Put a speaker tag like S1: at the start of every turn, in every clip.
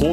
S1: På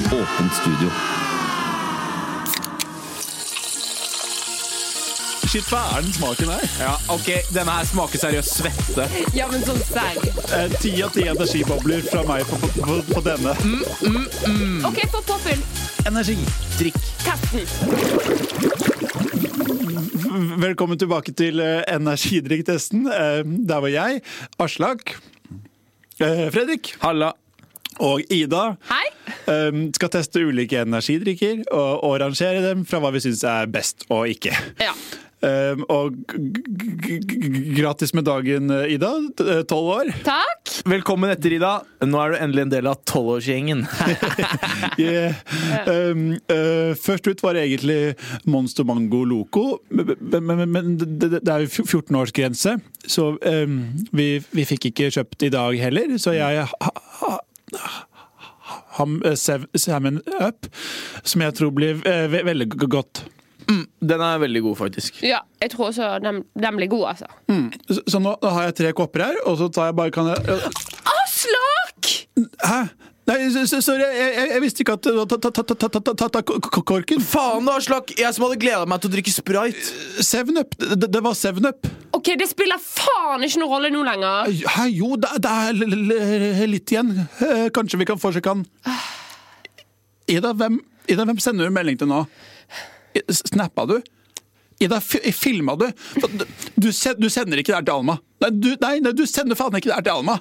S1: Åpent studio.
S2: Shit, hva er den smaken her?
S3: Ja, ok, denne her smaker seriøst svette.
S4: Ja, men sånn serr.
S2: Eh, Ti av ti energibobler fra meg på, på, på, på denne.
S4: OK, få påfyll.
S2: Mm, Energi. Drikk.
S4: Kast den.
S2: Velkommen tilbake til eh, energidrikktesten. Eh, Der var jeg, Aslak, eh, Fredrik
S3: Halla.
S2: og Ida.
S4: Hei.
S2: eh, Skal teste ulike energidrikker og, og rangere dem fra hva vi syns er best og ikke.
S4: Ja.
S2: Eh, Og g- g- g- gratis med dagen, eh, Ida. Tolv år.
S4: Takk.
S3: Velkommen etter, Ida. Nå er du endelig en del av tolvårsgjengen.
S2: Yeah. Um, uh, først ut var egentlig Monster Mango Loco, men, men, men- men det, det- det er jo 14-årsgrense, så um, vi, vi fikk ikke kjøpt i dag heller, så jeg ha, ha, ham, eh, sev, Salmon Up, som jeg tror blir eh, ve- veldig g- godt.
S3: Den er veldig god, faktisk.
S4: Ja, jeg tror også den, den blir god, altså.
S2: Så, så nå har jeg tre kopper her, og så tar jeg bare kan jeg,
S4: Aslak!
S2: Hæ? Nei, s- s- sorry, jeg, jeg, jeg visste ikke at ta, ta, ta, ta, ta, ta, ta, ta, k- korken.
S3: Faen, da, Aslak! Jeg som hadde gleda meg til å drikke sprite.
S2: Seven Up! Det, det- det var Seven Up.
S4: OK, det spiller faen ikke noen rolle nå lenger.
S2: Hæ, jo, det, det er l- l- litt igjen. Eh, Kanskje vi kan forsøke han. Ida, hvem, Ida, hvem sender du melding til nå? I- s- Snappa du? Ida, fi- filma du? For du- Du, sen- du sender ikke det her til Alma. Nei, du, nei, nei, du sender faen ikke det her til Alma.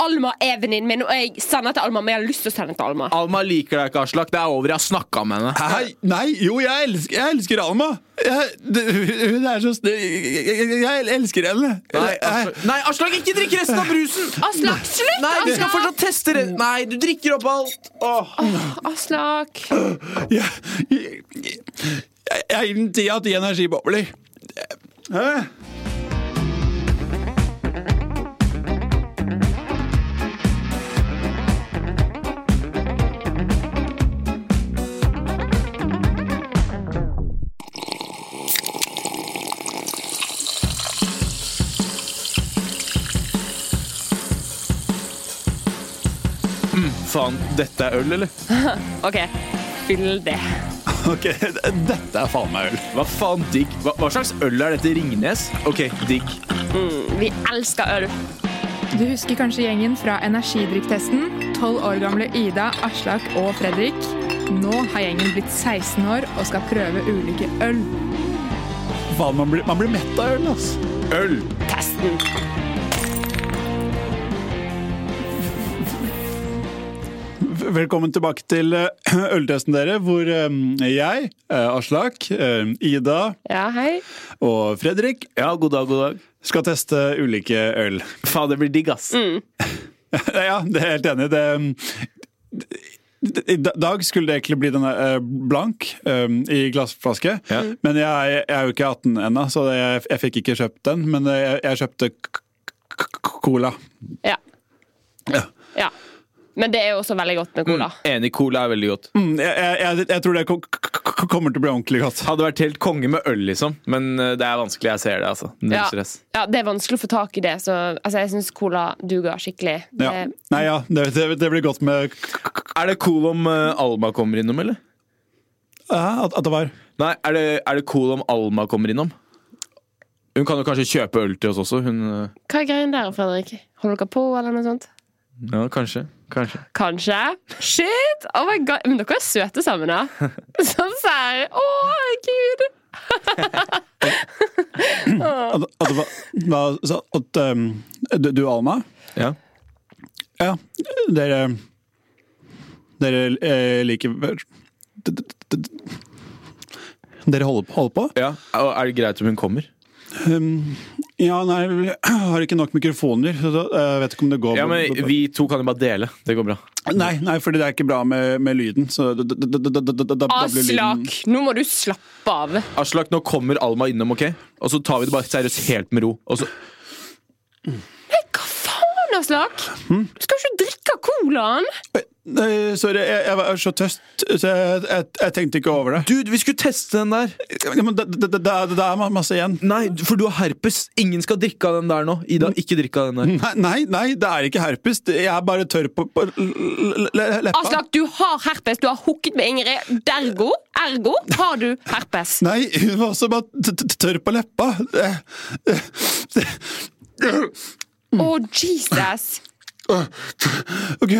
S4: Alma er venninnen min, og jeg sender til Alma, men jeg har lyst til å sende til Alma.
S3: Alma liker deg ikke, Aslak. Det er over. Jeg har snakka med henne.
S2: Hæ? Nei, jo, jeg elsker, jeg elsker Alma. Jeg, det, hun er så snill. Jeg, jeg, jeg elsker henne.
S3: Nei,
S2: Jeg-
S3: Aslak, Nei, Aslak ikke drikk resten av brusen!
S4: Aslak, slutt!
S3: Nei, vi skal
S4: Aslak!
S3: fortsatt teste det. Nei, du drikker opp alt. Åh.
S4: Aslak.
S2: Jeg jeg gir den ti av ti energibobler. Hæ?
S3: Faen, dette er øl, eller?
S4: OK, fyll det.
S2: Ok, dette er faen meg øl.
S3: Hva faen, digg? Hva, hva slags øl er dette? Ringnes? Ok, digg.
S4: Vi elsker øl.
S5: Du husker kanskje gjengen fra energidrikktesten? 12 år gamle Ida, Aslak og Fredrik. Nå har gjengen blitt 16 år og skal prøve ulike øl.
S2: Faen, man blir, man blir mett av øl, ass.
S3: Øl.
S4: Test den.
S2: V- Velkommen tilbake til eh, øltesten dere, hvor eh, jeg, eh, Aslak, eh, Ida
S4: Ja, hei.
S2: og Fredrik
S3: Ja, god dag, god dag.
S2: skal teste ulike øl.
S3: Faen, det blir digg, ass.
S2: ja, det er jeg helt enig. i. Det, det, I da- dag skulle det egentlig bli denne eh, blank eh, i glassflaske,
S3: Ja.
S2: men jeg, jeg er jo ikke 18 ennå, så jeg, jeg fikk ikke kjøpt den. Men eh, jeg, jeg kjøpte k- k- k- cola.
S4: Ja.
S2: Ja.
S4: ja. Men det er jo også veldig godt med cola.
S3: Enig, cola er veldig godt.
S2: Mm, jeg, jeg, jeg, jeg tror det ko- k- k- kommer til å bli ordentlig godt.
S3: Hadde vært helt konge med øl, liksom. Men eh, det er vanskelig. Jeg ser det, altså. Null
S4: Ja.
S3: stress.
S4: ja, Det er vanskelig å få tak i det, så altså, jeg syns cola duger skikkelig.
S2: Ja.
S4: Det-
S2: Nei, ja, det, det, det blir godt med k- k- k-
S3: Er det cool om eh, Alma kommer innom, eller?
S2: ja, at, at det var
S3: Nei, er det, er det cool om Alma kommer innom? Hun kan jo kanskje kjøpe øl til oss også. Hun eh,
S4: Hva er greien der, Fredrik? Holder dere på, eller noe sånt?
S3: Ja, kanskje. Kanskje.
S4: Kanskje? Shit! Oh my god. Men dere er søte sammen, da. Sånn serr. Å, herregud.
S2: At, at det var, hva sa- at, um, du, du, Alma?
S3: Ja.
S2: Ja, dere Dere eh, liker vel- d- d- d- d- Dere holder, på- holder på?
S3: ja. Og Er det greit om hun kommer?
S2: Ja, nei, jeg har ikke nok mikrofoner, så da- eh, jeg vet ikke om det går
S3: Ja, men vi to kan jo bare dele. Det går bra.
S2: Nei, nei, fordi det er ikke bra med, med lyden. Så da, da, da, da, da, da, da
S4: Ah,
S2: blir lyden
S4: Aslak, nå må du slappe av.
S3: Aslak, nå kommer Alma innom, ok? Og så tar vi det bare seriøst helt med ro. Og så,
S4: Hva faen, Aslak?
S2: Hmm?
S4: Du skal ikke drikke colaen!
S2: Nei, Sorry, jeg, jeg var så tøst, så jeg, jeg, jeg tenkte ikke over det.
S3: Dude, vi skulle teste den der!
S2: Ja, men det, det, det, det er ma- masse igjen.
S3: Nei, for du har herpes. Ingen skal drikke av den der nå. Ida, ikke drikke av den der.
S2: Nei, nei, nei, det er ikke herpes. Det- Jeg er bare tørr på, på l- l- l- leppa.
S4: Aslak, du har herpes. Du har hooket med Ingrid. Dergo, ergo, har du herpes.
S2: Nei, hun var også bare t- t- tørr på leppa. Det- det- Hmm.
S4: Å, Jesus!
S2: Ok,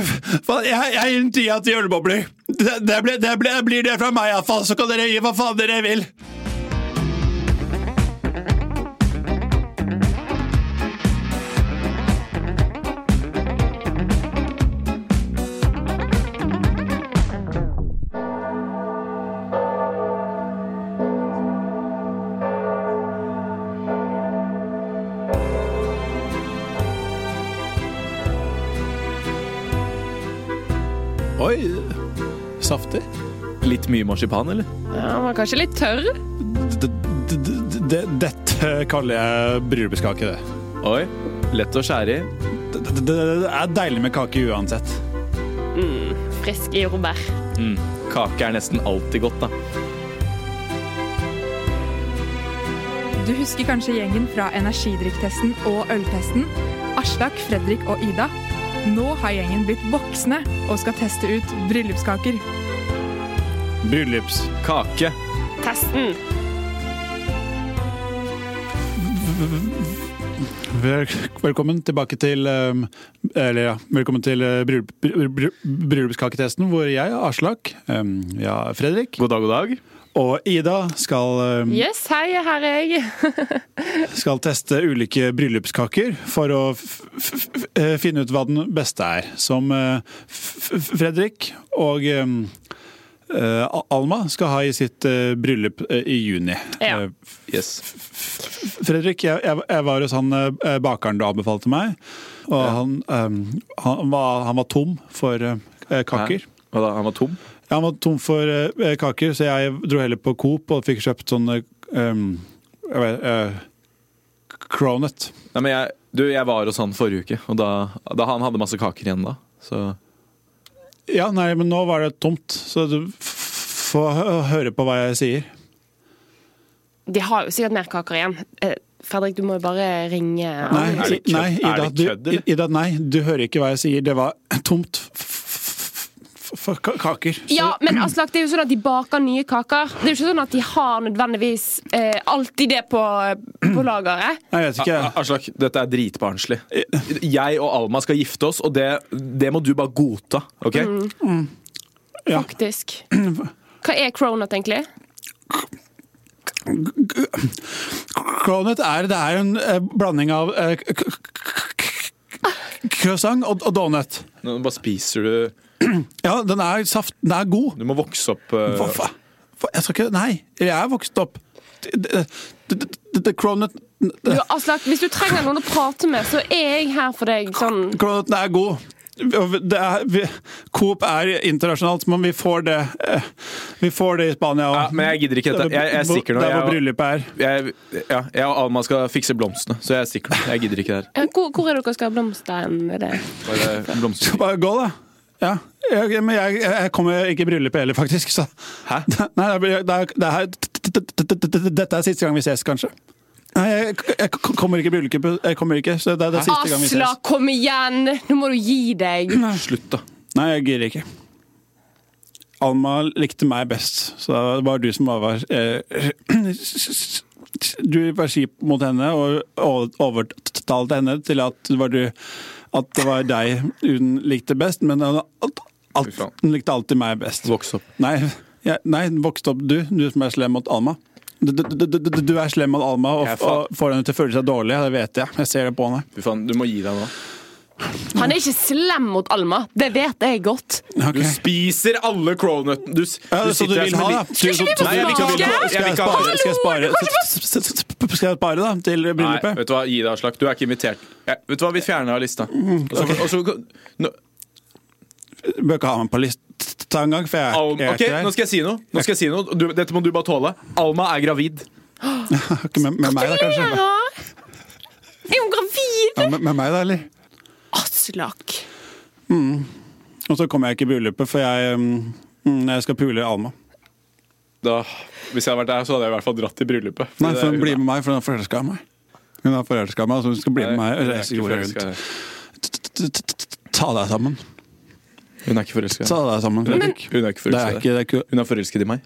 S2: faen, jeg, jeg gir en tia til ølbobler. Det, det, blir- det, blir- det blir det fra meg, iallfall. Så kan dere gi hva faen dere vil. Oi. Saftig.
S3: Litt mye marsipan, eller?
S4: Ja, han var kanskje litt tørr.
S2: D- d- d- d- Dette kaller jeg bryllupskake, det.
S3: Oi. Lett å skjære i.
S2: Det, det, det det er deilig med kake uansett.
S4: Frisk i jordbær.
S3: Kake er nesten alltid godt, da.
S5: Du husker kanskje gjengen fra energidrikktesten og øltesten? Aslak, Fredrik og Ida. Nå har gjengen blitt voksne og skal teste ut bryllupskaker.
S2: Bryllups.
S3: Kake.
S4: Testen.
S2: Vel, velkommen tilbake til um, Eller ja, velkommen til uh, bryllup, bry- bry- bryllupskaketesten, hvor jeg, Aslak, um, ja, Fredrik
S3: God dag, god dag.
S2: og Ida skal, um,
S4: Yes, hei, her er jeg.
S2: skal teste ulike bryllupskaker for å f f f eh, finne ut hva den beste er. Som eh, f f Fredrik og um, eh, Al- Alma skal ha i sitt eh, bryllup eh, i juni.
S4: Ja.
S2: Eh,
S3: Yes.
S2: Fredrik, jeg, jeg, jeg var hos han eh, bakeren du anbefalte meg. Og han, eh, han, var, han var tom for eh, kaker.
S3: Hæ? Hva da? Han var tom?
S2: Ja, Han var tom for eh, kaker, så jeg dro heller på Coop og fikk kjøpt sånne um, jeg vet, eh, Cronut.
S3: Nei, men jeg, du, jeg var hos han forrige uke, og da, da han hadde masse kaker igjen da. Så
S2: Ja, nei, men nå var det tomt, så du f- f- får hø- høre på hva jeg sier.
S4: De har jo sikkert mer kaker igjen. Eh, Fredrik, du må jo bare ringe
S2: Nei,
S3: Er det kødd?
S2: nei, Ida,
S3: Er det
S2: du,
S3: kødd, eller?
S2: Ida, nei, du hører ikke hva jeg sier. Det var tomt f- f- f- for ka- kaker. Så-
S4: Ja, men Aslak, det er jo sånn at de baker nye kaker. Det er jo ikke sånn at de har nødvendigvis eh, alltid det på, eh, på lageret.
S2: Nei, jeg vet ikke.
S3: A- A- Aslak, dette er dritbarnslig. Jeg og Alma skal gifte oss, og det, det må du bare godta. ok?
S2: Ja.
S4: Faktisk. Hva er cronut, egentlig?
S2: Cronut er, det er en eh, blanding av eh, k- k- k- k- croissant og, og donut.
S3: Nå bare spiser du
S2: Ja, den er saft, den er god.
S3: Du må vokse opp eh,
S2: Hva fa- hva- Jeg skal ikke Nei, jeg er vokst opp. Det- det- det- det- det- Cronut
S4: Du,
S2: det-
S4: Aslak, hvis du trenger noen å prate med, så er jeg her for deg. Sånn.
S2: Cronuten er god. Det er, vi, Coop er internasjonalt, men vi får det eh, Vi får det i Spania
S3: Ja,
S2: òg.
S3: men jeg gidder ikke dette. Jeg, jeg er sikker nå.
S2: Der hvor
S3: Jeg,
S2: bryllupet er.
S3: jeg, ja, jeg og Alma skal fikse blomstene, så jeg er sikker nå. Jeg gidder ikke det her.
S4: Eh, Hvor, hvor er dere skal ha blomster? Er det?
S3: Bare blomster.
S2: Bare gå, da. Ja. Jeg, men jeg, jeg kommer ikke i bryllupet heller, faktisk. Så.
S3: Hæ?
S2: Nei, det blir- det er, det er, dette er siste gang vi ses, kanskje. Nei, jeg, jeg kommer ikke i bryllupet. Jeg kommer ikke, så det er det siste gang vi ses.
S4: Aslak, kom igjen! Nå må du gi deg.
S3: Slutt, da.
S2: Nei, jeg gidder ikke. Alma likte meg best, så det var du som var eh, Du var kjip mot henne og o- overtalte henne til at det var du At det var deg hun likte best, men hun- alt,
S3: Fy faen.
S2: alt, hun likte alltid meg best.
S3: Vokse opp.
S2: Nei, jeg, nei vokste opp du, du som er slem mot Alma. Du, du, du, du, du er slem mot Alma og,
S3: Jeg er faen-
S2: og får henne til å føle seg dårlig, det vet jeg. Jeg ser det på henne.
S3: Fy faen, du må gi deg nå.
S4: Han er ikke slem mot Alma. Det vet jeg godt.
S2: Ok.
S3: Du spiser alle crownutene. Du, s-
S2: Ja, så du
S3: sitter her
S2: vil
S3: som
S2: ha,
S3: en
S2: da?
S3: liten-
S2: Du- så-
S4: vi få
S2: Nei, jeg vil ikke ha
S4: smake?
S2: bil. Skal jeg spare, skal jeg spare, skal jeg spare da, til
S3: Nei,
S2: bryllupet?
S3: vet du hva, gi deg Aslak. Du er ikke invitert. Ja, vet du hva, vi fjerner av lista.
S2: Mm.
S3: Og så, og så, nå,
S2: Bør ikke ha meg på lista engang, for jeg
S3: Alma,
S2: er
S3: ok,
S2: ikke
S3: nå skal jeg si noe. Nå skal jeg si noe. Du, dette må du bare tåle. Alma er gravid.
S2: Har ikke med, med meg, da, kanskje?
S4: Ja. Er hun gravid?
S2: Ja, med, med meg, da, eller?
S4: Aslak.
S2: Og så kommer jeg ikke i bryllupet, for jeg, um, mm, jeg skal pule Alma.
S3: Da, hvis jeg hadde vært der, så hadde jeg i hvert fall dratt til bryllupet.
S2: Nei,
S3: Det
S2: for
S3: er-
S2: hun blir med meg, for hun er forelska i meg. Hun er forelska i meg, så hun skal bli med meg og
S3: Nei,
S2: reise
S3: hun er
S2: jorda
S3: ikke forelska i
S2: rundt.
S3: deg.
S2: T- t- t- t- Ta deg sammen.
S3: Hun er ikke forelska. i
S2: Ta
S3: deg.
S2: deg sammen, Fredrik.
S3: Hun er ikke
S2: Det er
S3: forelska. i
S2: ikke,
S3: deg.
S2: det er ikke
S3: Hun er forelsket i meg.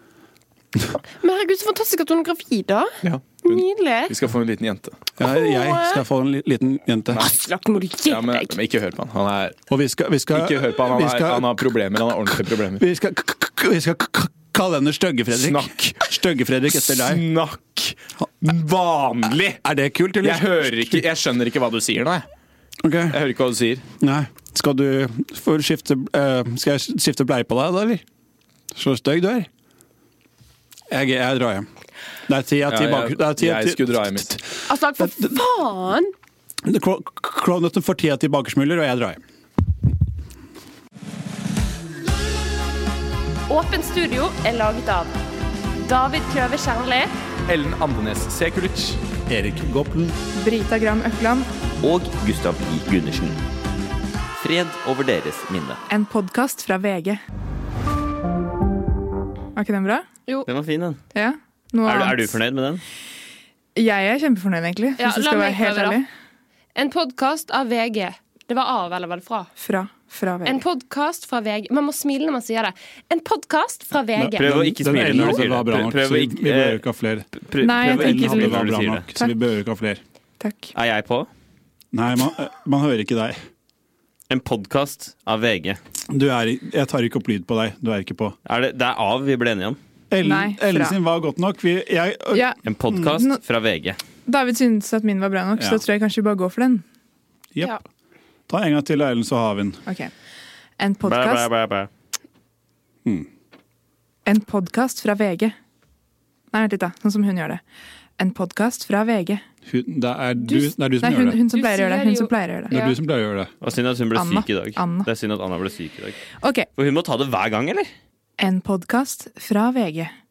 S4: Men herregud, så fantastisk at hun er gravid, da.
S3: Ja. Hun, vi
S4: Nydelig.
S3: skal få en liten jente.
S2: jeg, jeg skal få en li- liten jente.
S4: Aslak, må du gi
S3: Ja, men,
S4: deg.
S3: men ikke hør på han. Han er
S2: Og vi skal, vi skal,
S3: Ikke hør på han, han,
S2: vi
S3: er,
S2: skal-
S3: han har problemer. Han har ordentlige problemer.
S2: Vi skal, k- k- k- vi skal k- k- kalle henne Stygge-Fredrik.
S3: Snakk.
S2: Stygge-Fredrik etter deg.
S3: Snakk vanlig!
S2: Er det kult, eller?
S3: Jeg hører ikke, jeg skjønner ikke hva du sier nå. Jeg Jeg
S2: Ok,
S3: hører ikke hva du sier.
S2: Nei. Skal du får skifte eh, Skal jeg skifte bleie på deg, da, eller? Så stygg du er. Jeg, jeg drar hjem. Det er ti av ti
S3: Ja,
S2: bak...
S3: jeg-
S2: det er ti av
S3: jeg
S2: ti-
S3: skulle dra hjem, mitt.
S4: Aslak, Altså, for faen!
S2: Det- Kro- Kronheten får ti av ti bakersmuler, og jeg drar hjem.
S4: Åpent studio er laget av David Kløve Kjernli.
S3: Ellen Andenes Sekulic.
S2: Erik Goplen.
S5: Brita Gram Økland,
S6: og Gustav I. Gundersen. Fred over deres minne.
S5: en podkast fra VG. Var ikke den bra?
S6: Den var fin, den.
S5: Ja. Noe
S6: Er du, er
S5: annet.
S6: du fornøyd med den?
S5: Jeg er kjempefornøyd, egentlig.
S4: Ja,
S5: hvis jeg
S4: la
S5: skal
S4: meg
S5: være helt
S4: prøve, da.
S5: ærlig.
S4: En podkast av VG. Det var av, eller var det fra?
S5: Fra, fra VG.
S4: En podkast fra VG. Man må smile når man sier det. En podkast fra VG.
S6: Prøv å ikke
S2: Den
S6: smile
S2: ene
S6: når du sier
S2: var bra
S6: det.
S2: nok,
S6: Prøv
S2: så
S6: å
S2: vi, vi
S6: ikke
S2: behøver
S6: eh,
S2: ikke ha flere.
S6: prøv-
S5: Nei, jeg
S6: prøv å
S5: tenker
S6: ikke
S5: ikke sånn.
S6: smile
S2: Den var
S6: når du
S2: bra
S6: sier
S2: nok,
S6: det.
S2: så vi behøver ikke ha flere.
S5: Takk.
S6: Er jeg på?
S2: Nei, man, man hører ikke deg.
S6: En podkast av VG.
S2: Du er, i- jeg tar ikke opp lyd på deg. Du er ikke på.
S6: Er det, det er av vi ble enige om.
S2: Ellen,
S5: Nei, fra.
S2: Ellen sin var godt nok. Vi, jeg,
S5: Ja,
S6: En
S5: Mm.
S6: podkast fra VG.
S5: David syntes at min var bra nok, så
S2: Ja.
S5: da tror jeg kanskje vi bare går for den.
S2: Jepp.
S4: Ja.
S2: Ta en gang til, Erlend, så har vi den.
S5: Ok. En
S6: Bæ, bæ,
S5: podkast
S6: bæ, bæ.
S2: Hmm.
S5: En podcast fra VG. Nei, vent litt, da. Sånn som hun gjør det. En podkast fra VG.
S2: Hun, det, er du, det er du som
S5: Nei,
S2: gjør
S5: hun,
S2: det.
S5: hun som
S4: Du
S5: pleier å gjøre
S4: sier
S5: det. Hun
S4: jo-
S5: som pleier å gjøre
S2: Det
S5: det.
S2: er
S4: Ja.
S2: du som pleier å gjøre det.
S6: Og synd at hun ble
S5: Anna.
S6: syk i dag.
S5: Anna.
S6: Det er synd at Anna ble syk i dag.
S5: Ok.
S6: For hun må ta det hver gang, eller?
S5: En podkast fra VG.